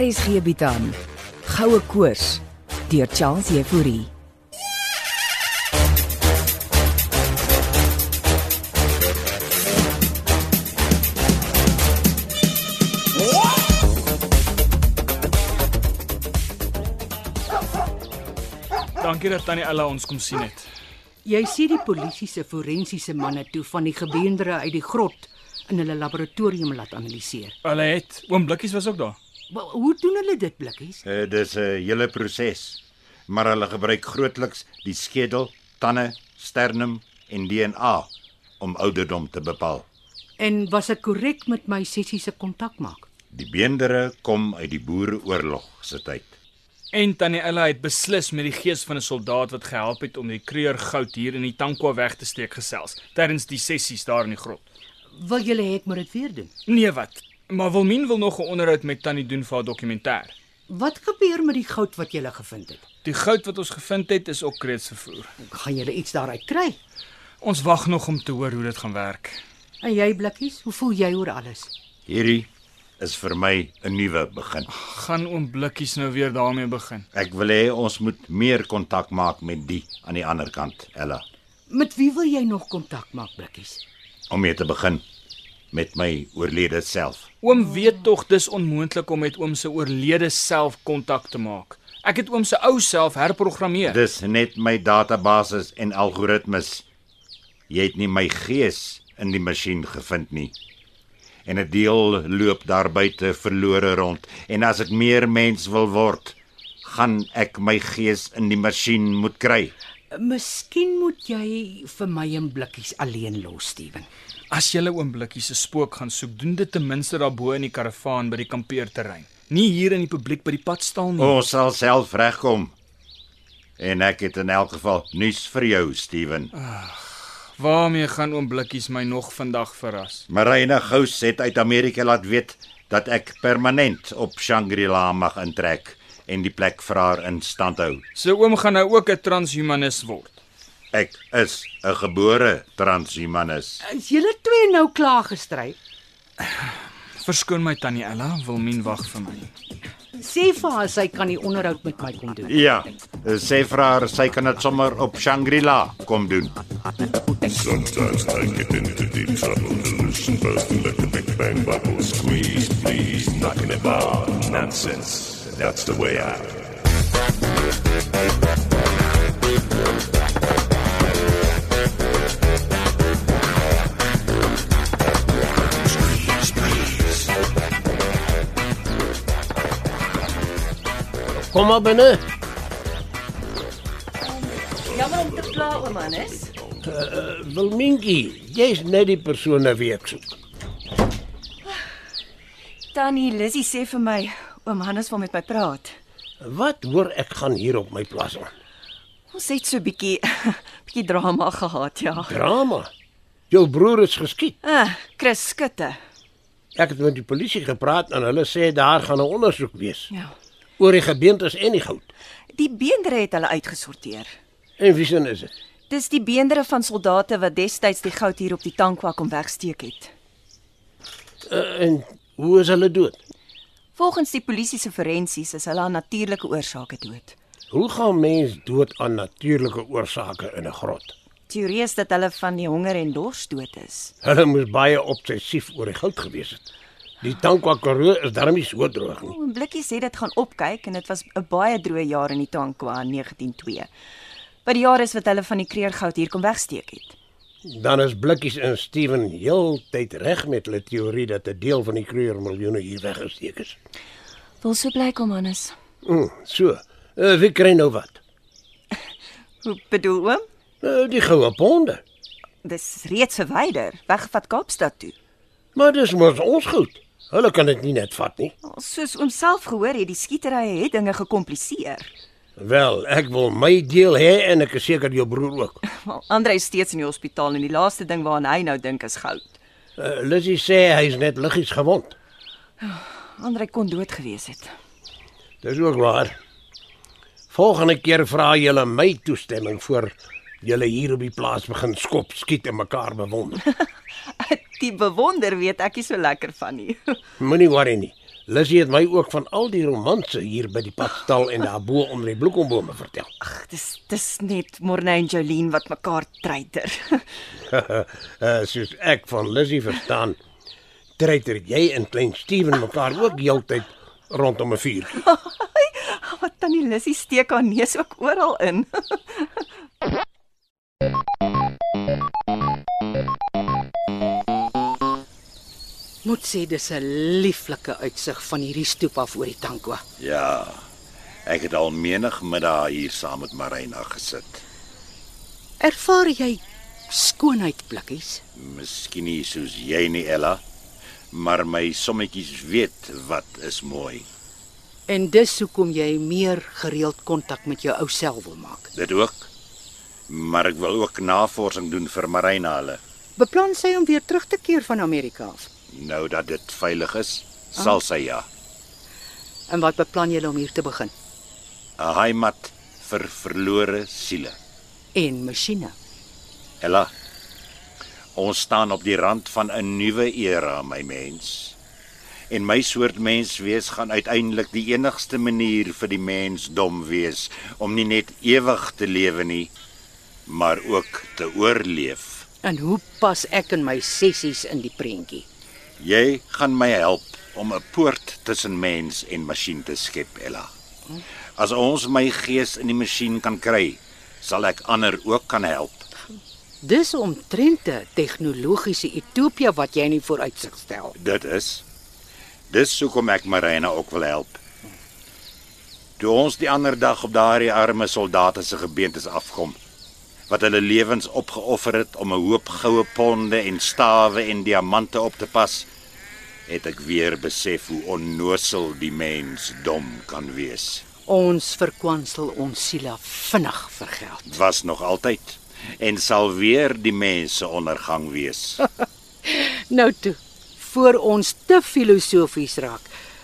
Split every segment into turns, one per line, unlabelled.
RSG bied aan Goue Koors deur Charles Euphorie.
Dankie dat tannie Ella ons kom sien het.
Jy sien die polisie se forensiese manne toe van die gebeendere uit die grot in hulle laboratorium laat analiseer.
Hulle het oom Blikkies was ook daar.
Maar hoe doen hulle dit blikkies?
Eh, Dis 'n hele proses, maar hulle gebruik grootliks die skedel, tande, sternum en DNA om ouderdom te bepaal.
En was ek korrek met my sessie se kontak maak?
Die beendere kom uit die Boereoorlog se tyd.
En tannie Ella het beslis met die gees van 'n soldaat wat gehelp het om die kreur goud hier in die tankwa weg te steek gesels tydens die sessies daar in die grot.
Wil julle hê ek moet dit weer doen?
Nee wat? Maar Wilmien wil nog 'n onderhoud met tannie doen vir haar dokumentêr.
Wat gebeur met die goud wat julle gevind het?
Die goud wat ons gevind het is ook reeds vervoer.
Gaan julle iets daaruit kry?
Ons wag nog om te hoor hoe dit gaan werk.
En jy blikkies, hoe voel jy oor alles?
Hierdie is vir my 'n nuwe begin.
Gaan oom Blikkies nou weer daarmee begin?
Ek wil hê ons moet meer kontak maak met die aan die ander kant, Ella,
Met wie wil jy nog kontak maak blikkies?
om mee te begin met my oorlede self.
Oom weet tog dis onmoontlik om met oom se oorlede self kontak te maak. Ek het oom se ou self herprogrammeer.
Dis net my databasis en algoritmes. Jy het nie my gees in die masjien gevind nie. En 'n deel loop daar buite verlore rond en as ek meer mens wil word, gaan ek my gees in die masjien moet kry.
Miskien moet jy vir my en blikkies alleen los, Steven.
As jy oom Blikkie se spook gaan soek, doen dit ten minste daarbo in die karavaan by die kampeerterrein. Nie hier in die publiek by die padstal nie.
Ons sal self regkom. En ek het in elk geval nuus vir jou, Steven.
Waarmee gaan oom Blikkies my nog vandag verras?
Marina Gous het uit Amerika laat weet dat ek permanent op Shangri-La mag intrek en die plek vir haar in stand hou.
So oom gaan nou ook 'n transhumanis word.
Ek is 'n gebore transhumanis.
Is julle twee nou klaar gestry?
Verskoon my tannie Ella, Wilmien wag vir my.
Sê vir haar sy kan die onderhoud met my kom doen.
Ja, sê vir haar sy kan dit sommer op Shangri-La kom doen.
Sometimes I get into deep trouble. Delusion bursting like the Big Bang bubble. Squeeze, please, knocking about nonsense. That's the way out.
Kom maar binne.
Jammer om te pla, oom Hannes.
Wilmintjie, jy's net die persoon na wie ek soek.
Tannie Lissy sê vir my oom Hannes wil met my praat.
Wat hoor ek gaan hier op my plaas aan?
Ons het so 'n bietjie bietjie drama gehad, ja.
Drama. Jou broer is geskiet.
Ah, Chris skutte.
Ek het met die polisie gepraat en hulle sê daar gaan 'n ondersoek wees
Ja.
oor die gebeentes en die goud.
Die beendere het hulle uitgesorteer.
En wie se is dit?
Dis die beendere van soldate wat destyds die goud hier op die tankwa kom wegsteek het.
Uh, en hoe is hulle dood?
Volgens die polisie se forensies is hulle aan natuurlike oorsake dood.
Hoe gaan mens dood aan natuurlike oorsake in 'n grot?
Teorie is dat hulle van die honger en dors dood is.
Hulle moes baie obsessief oor die goud gewees het. Die Tankwa Karoo is darm nie so droog nie.
Oom Blikkie sê dit gaan opkyk en dit was 'n baie droë jaar in die Tankwa in 1902. Wat die jaar is wat hulle van die kreergoud hier kom wegsteek het.
Dan is Blikkies en Steven heeltyd reg met hulle teorie dat 'n deel van die kreur miljoene hier weggesteek is.
Wil so bly kom Hannes.
Mm, so, uh, wie kry nou wat?
Hoe bedoel oom?
Uh, die goue ponde.
Dis reeds verwyder, weggevat Kaapstad toe.
Maar dis mos ons goed. Hulle kan dit nie net vat nie.
Soos oom self gehoor het, die skieterye het dinge gekompliseer.
Wel, ek wil my deel hê en ek is seker jou broer ook.
Wel, Andre is steeds in die hospitaal en die laaste ding waaraan hy nou dink is goud.
Uh, Lizzie sê hy's net liggies gewond.
Andre kon dood gewees het.
Dis ook waar. Volgende keer vra julle my toestemming voor julle hier op die plaas begin skop, skiet en mekaar bewonder.
Die bewonder weet ek nie so lekker van nie.
Moenie worry nie. Lissy het my ook van al die romanse hier by die padstal en daarbo onder die bloekombome vertel.
Ag, dis dis net Morne en Jolene wat mekaar treiter.
uh, soos ek van Lissy verstaan, treiter jy en klein Steven mekaar ook heeltyd rondom 'n vuur.
Wat tannie Lissy steek haar neus ook oral in.
Moet sê dis 'n lieflike uitsig van hierdie stoep af oor die Tankwa.
Ja. Ek het al menig middag hier saam met Marina gesit.
Ervaar jy skoonheid blikkies?
Miskien nie soos jy nie, Ella, maar my sommetjies weet wat is mooi.
En dis hoekom jy meer gereeld kontak met jou ou self wil maak.
Dit ook. Maar ek wil ook navorsing doen vir Marina hulle.
Beplan sy om weer terug te keer van Amerika af?
Nou dat dit veilig is, sal sy ja.
En wat beplan julle om hier te begin?
'n Heimat vir verlore siele.
En masjiene.
Ella. Ons staan op die rand van 'n nuwe era, my mens. En my soort mens wees gaan uiteindelik die enigste manier vir die mensdom wees om nie net ewig te lewe nie, maar ook te oorleef.
En hoe pas ek in my sessies in die prentjie?
Jy gaan my help om 'n poort tussen mens en masjien te skep, Ella. As ons my gees in die masjien kan kry, sal ek ander ook kan help.
Dis omtrent 'n tegnologiese utopia wat jy in die vooruitsig stel.
Dit is. Dis hoekom ek Marina ook wil help. Toe ons die ander dag op daardie arme soldate se gebeentes afkom wat hulle lewens opgeoffer het om 'n hoop goue ponde en stawe en diamante op te pas, het ek weer besef hoe onnosel die mens dom kan wees.
Ons verkwansel ons siele vinnig vir geld.
Dit was nog altyd en sal weer die mense ondergang wees.
Nou toe, voor ons te filosofies raak,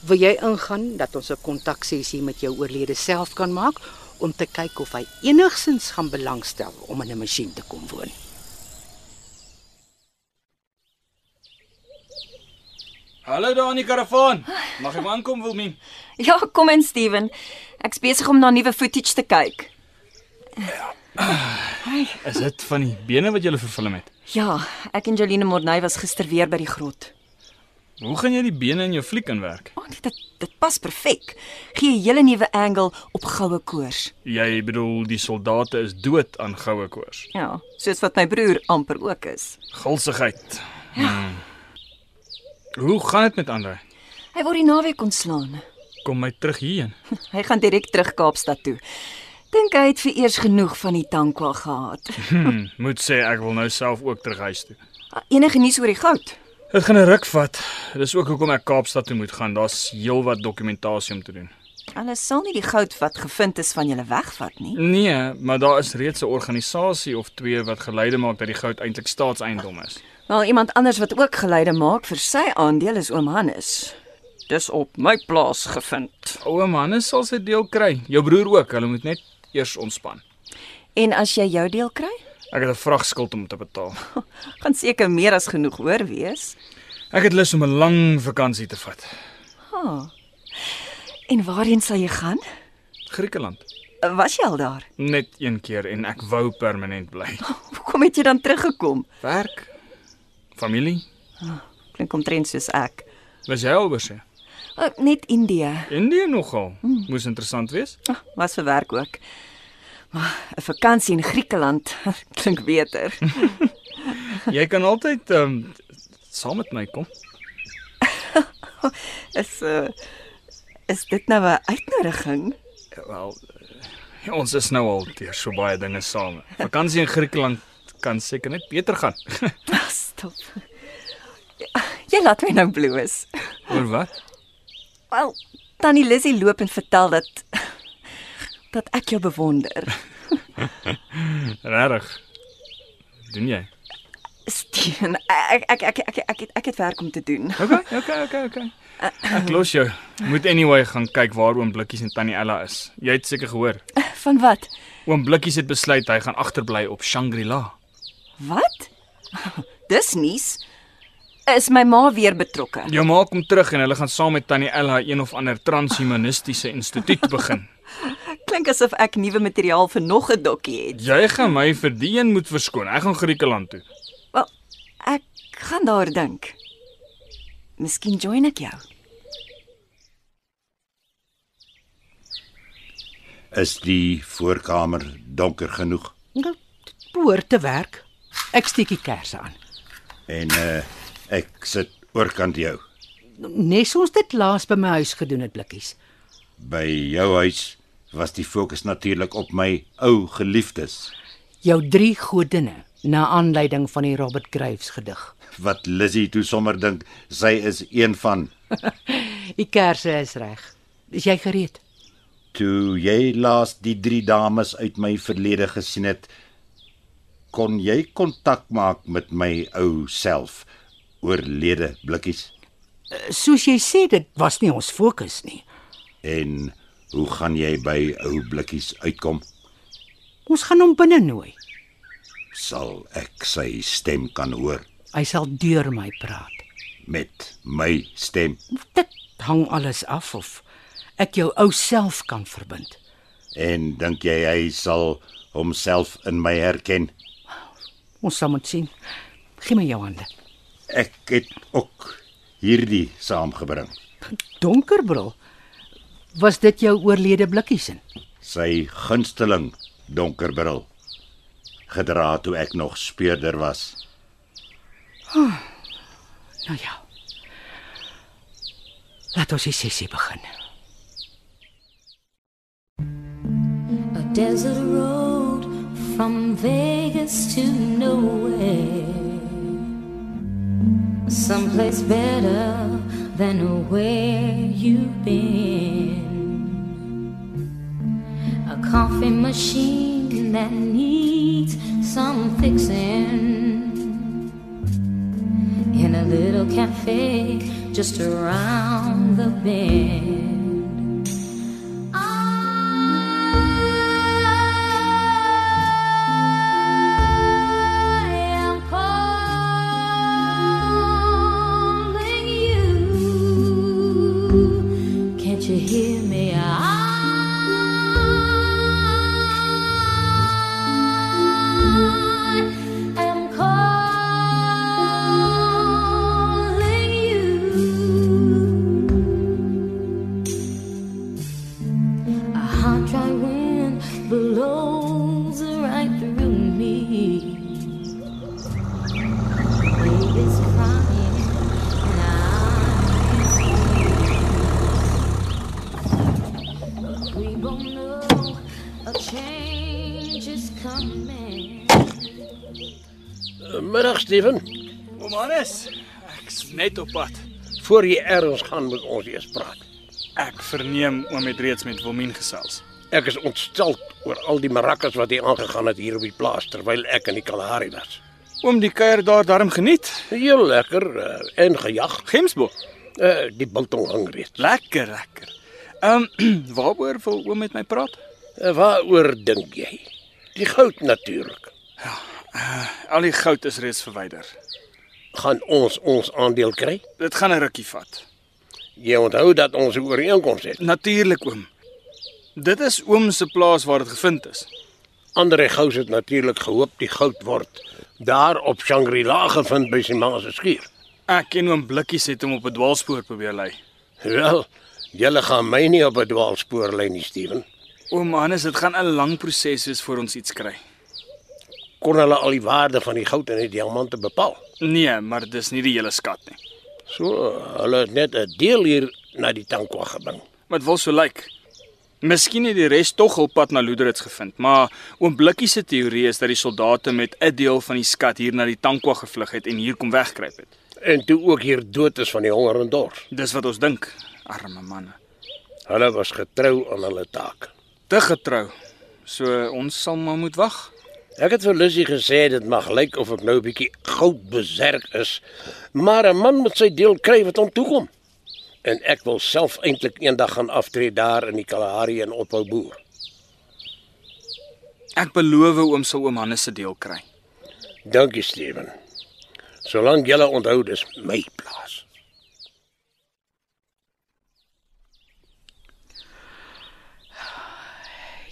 wil jy ingaan dat ons 'n kontaksessie met jou oorlede self kan maak om te kyk of hy enigsins gaan belangstel om in 'n masjien te kom woon.
Hallo daar in die karavaan. Mag ek aankom, Wilmien?
Ja, kom in Steven. Ek's besig om na nuwe footage te kyk.
Is dit van die bene wat jy gele vervilm het?
Ja, ek en Jolene Morney was gister weer by die grot.
Hoe gaan jy die bene in jou fliek inwerk?
O, oh, dit dit pas perfek. Gee 'n hele nuwe angle op goue koers.
Jy bedoel die soldate is dood aan goue koors.
Ja, soos wat my broer amper ook is.
Gulsigheid. Hmm. Hoe gaan dit met Andre?
Hy word die naweek ontslaan.
Kom my terug hierheen.
Hy gaan direk terug Kaapstad toe. Dink hy het vir eers genoeg van die tankwa gehad.
Hmm, moet sê ek wil nou self ook terug huis toe.
Ah, Enige nuus oor die goud?
Dit gaan 'n ruk vat. Dis ook hoekom ek Kaapstad toe moet gaan. Daar's heelwat dokumentasie om te doen.
Hulle sal nie die goud wat gevind is van julle wegvat nie.
Nee, maar daar is reeds 'n organisasie of twee wat geleide maak dat die goud eintlik staatseiendom is.
Wel, iemand anders wat ook geleide maak vir sy aandeel is oom Hannes. Dis op my plaas gevind.
Oom Hannes sal sy deel kry. Jou broer ook. Hulle moet net eers ontspan.
En as jy jou deel kry,
Ek het 'n vragskuld om te betaal.
gaan seker meer as genoeg oor wees.
Ek het lus om 'n lang vakansie te vat.
En waarheen sal jy gaan?
Griekeland.
Was jy al daar?
Net een keer en ek wou permanent bly.
Hoekom het jy dan teruggekom?
Werk, familie.
Klink omtrent soos ek.
Was jy al oor see?
Oh, net Indië.
Indië nogal. Moes interessant wees.
Ah, Was vir werk ook. Maar 'n vakansie in Griekeland klink beter.
Jy kan altyd ehm um, saam met my kom.
Is uh, is dit nou 'n uitnodiging?
Wel, eh, ons is nou al deur so baie dinge saam. Vakansie in Griekeland kan seker net beter gaan.
Ag, Stop. Ja, Jy laat my nou bloos.
Oor wat?
Wel, tannie Lissy loop en vertel dat dat ek jou bewonder.
Regtig. Doen jy?
Steven, ek ek ek ek ek ek, ek het werk om te doen.
Okay, okay, okay, okay. Ek los jou. Moet anyway gaan kyk waar oom Blikkies en tannie Ella is. Jy het seker gehoor.
Van wat?
Oom Blikkies het besluit hy gaan agterbly op Shangri-La.
Wat? Dis nuus. Is my ma weer betrokke?
Jou ma kom terug en hulle gaan saam met tannie Ella een of ander transhumanistiese instituut begin.
Klink asof ek nuwe materiaal vir nog 'n dokkie het.
Jy gaan my vir die een moet verskoon. Ek gaan Griekeland toe.
Wel, ek gaan daar dink. Miskien join ek jou.
Is die voorkamer donker genoeg?
Nou, dit behoort te werk. Ek steek die kersse aan.
En uh ek sit oorkant jou
Nes ons dit laas by my huis gedoen het blikkies.
by jou huis was die fokus natuurlik op my ou geliefdes
Jou drie godinne na aanleiding van die Robert Graves gedig.
wat Lizzy toe sommer dink sy is een van
Die kersse is reg. Is jy gereed?
toe jy laas die drie dames uit my verlede gesien het kon jy kontak maak met my ou self oorlede blikkies
Soos jy sê, dit was nie ons fokus nie.
en hoe gaan jy by ou blikkies uitkom
Ons gaan hom binne nooi.
sal ek sy stem kan hoor
Hy sal deur my praat.
met my stem
Dit hang alles af of ek jou ou self kan verbind.
En dink jy hy sal homself in my herken?
Ons sal moet sien. Gee my jou hande.
Ek het ook hierdie saamgebring.
Donkerbril. Was dit jou oorlede blikkies in?
Sy gunsteling donker bril. Gedra toe ek nog speurder was.
Nou ja. Laat ons die sessie begin.
A desert road from Vegas to nowhere. Someplace better than where you've been. A coffee machine that needs some fixing. In a little cafe just around the bend. I am calling you. Can't you hear me? I am calling you. A hot, dry wind blows right through me. Baby's crying, and I'm scared. But we both know a change is coming.
Middag Steven.
Omanes, ek's net op pad.
Voor jy ergens gaan moet ons eers praat.
Ek verneem oom het reeds met Wilmien gesels.
Ek is ontstel oor al die marakkes wat hier aangegaan het hier op die plaas terwyl ek in die Kalahari was.
Oom die kuier daar darm geniet.
Heel lekker uh, en gejag.
Gemsbok.
Uh, die biltong hang reeds.
Lekker, lekker. Ehm um, waaroor wil oom met my praat?
Uh, waaroor dink jy? Die goud natuurlik.
Al die goud is reeds verwyder.
Gaan ons ons aandeel kry?
Dit gaan 'n rukkie vat.
Jy onthou dat ons 'n ooreenkoms het.
Natuurlik oom. Dit is oom se plaas waar dit gevind is.
Ander gous het natuurlik gehoop die goud word daar op Shangri-La gevind by sy ma se skuur.
Ek en oom Blikkies het hom op 'n dwaalspoor probeer lei.
Wel, julle gaan my nie op 'n dwaalspoor lei nie, Steven.
Oom Hannes, dit gaan 'n lang proses wees voor ons iets kry.
Kon hulle al die waarde van die goud en die diamante bepaal?
Nee, maar dis nie die hele skat nie.
So, hulle het net 'n deel hier na die Tankwa gebring.
Wat wil so lyk? Miskien het die res tog op pad na Loederits gevind, maar oom Blikkie se teorie is dat die soldate met 'n deel van die skat hier na die Tankwa gevlug het en hier kom wegkruip het.
En toe ook hier dood is van die honger en dors.
Dis wat ons dink, arme manne.
Hulle was getrou aan hulle taak.
Te getrou. So ons sal maar moet wag.
Ek het vir Lissy gesê dit mag lyk of ek nou 'n bietjie goudbeserk is, maar 'n man moet sy deel kry wat hom toekom. En ek wil self eintlik eendag gaan aftree daar in die Kalahari en ophou boer.
Ek beloof oom sal oom Hannes se deel kry.
Dankie, Steven. Solank julle onthou dis my plaas.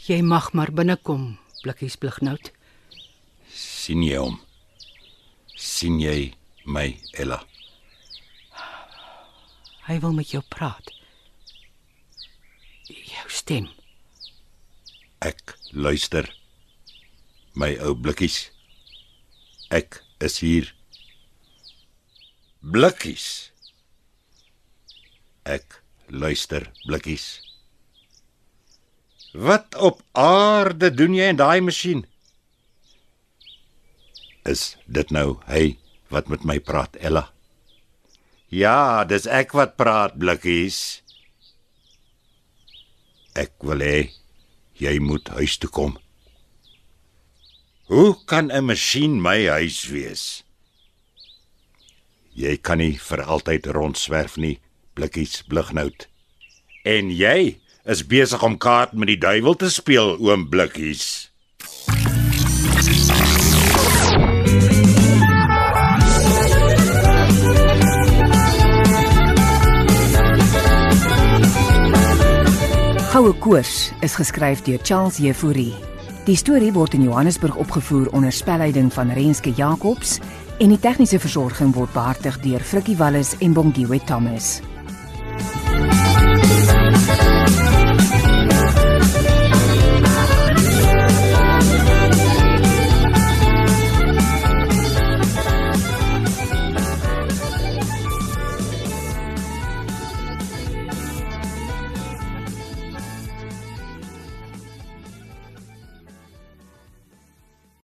Jy mag maar binnekom, blikkies blighnout.
sien jy hom? sien jy my Ella?
Hy wil met jou praat. Jou stem.
Ek luister. My ou blikkies. Ek is hier. Blikkies. Ek luister, blikkies. Wat op aarde doen jy in daai masjien? Is dit nou hy wat met my praat, Ella? Ja, dis ek wat praat, blikkies. Ek wil hê jy moet huis toe kom. Hoe kan 'n masjien my huis wees? Jy kan nie vir altyd rondswerf nie, blikkies blignout. En jy is besig om kaart met die duiwel te speel, oom blikkies.
Goue Koors is geskryf deur Charles Jefouri. Die storie word in Johannesburg opgevoer onder spelleiding van Renske Jacobs en die tegniese versorging word behartig deur Frikkie Wallis en Bongwe Thomas.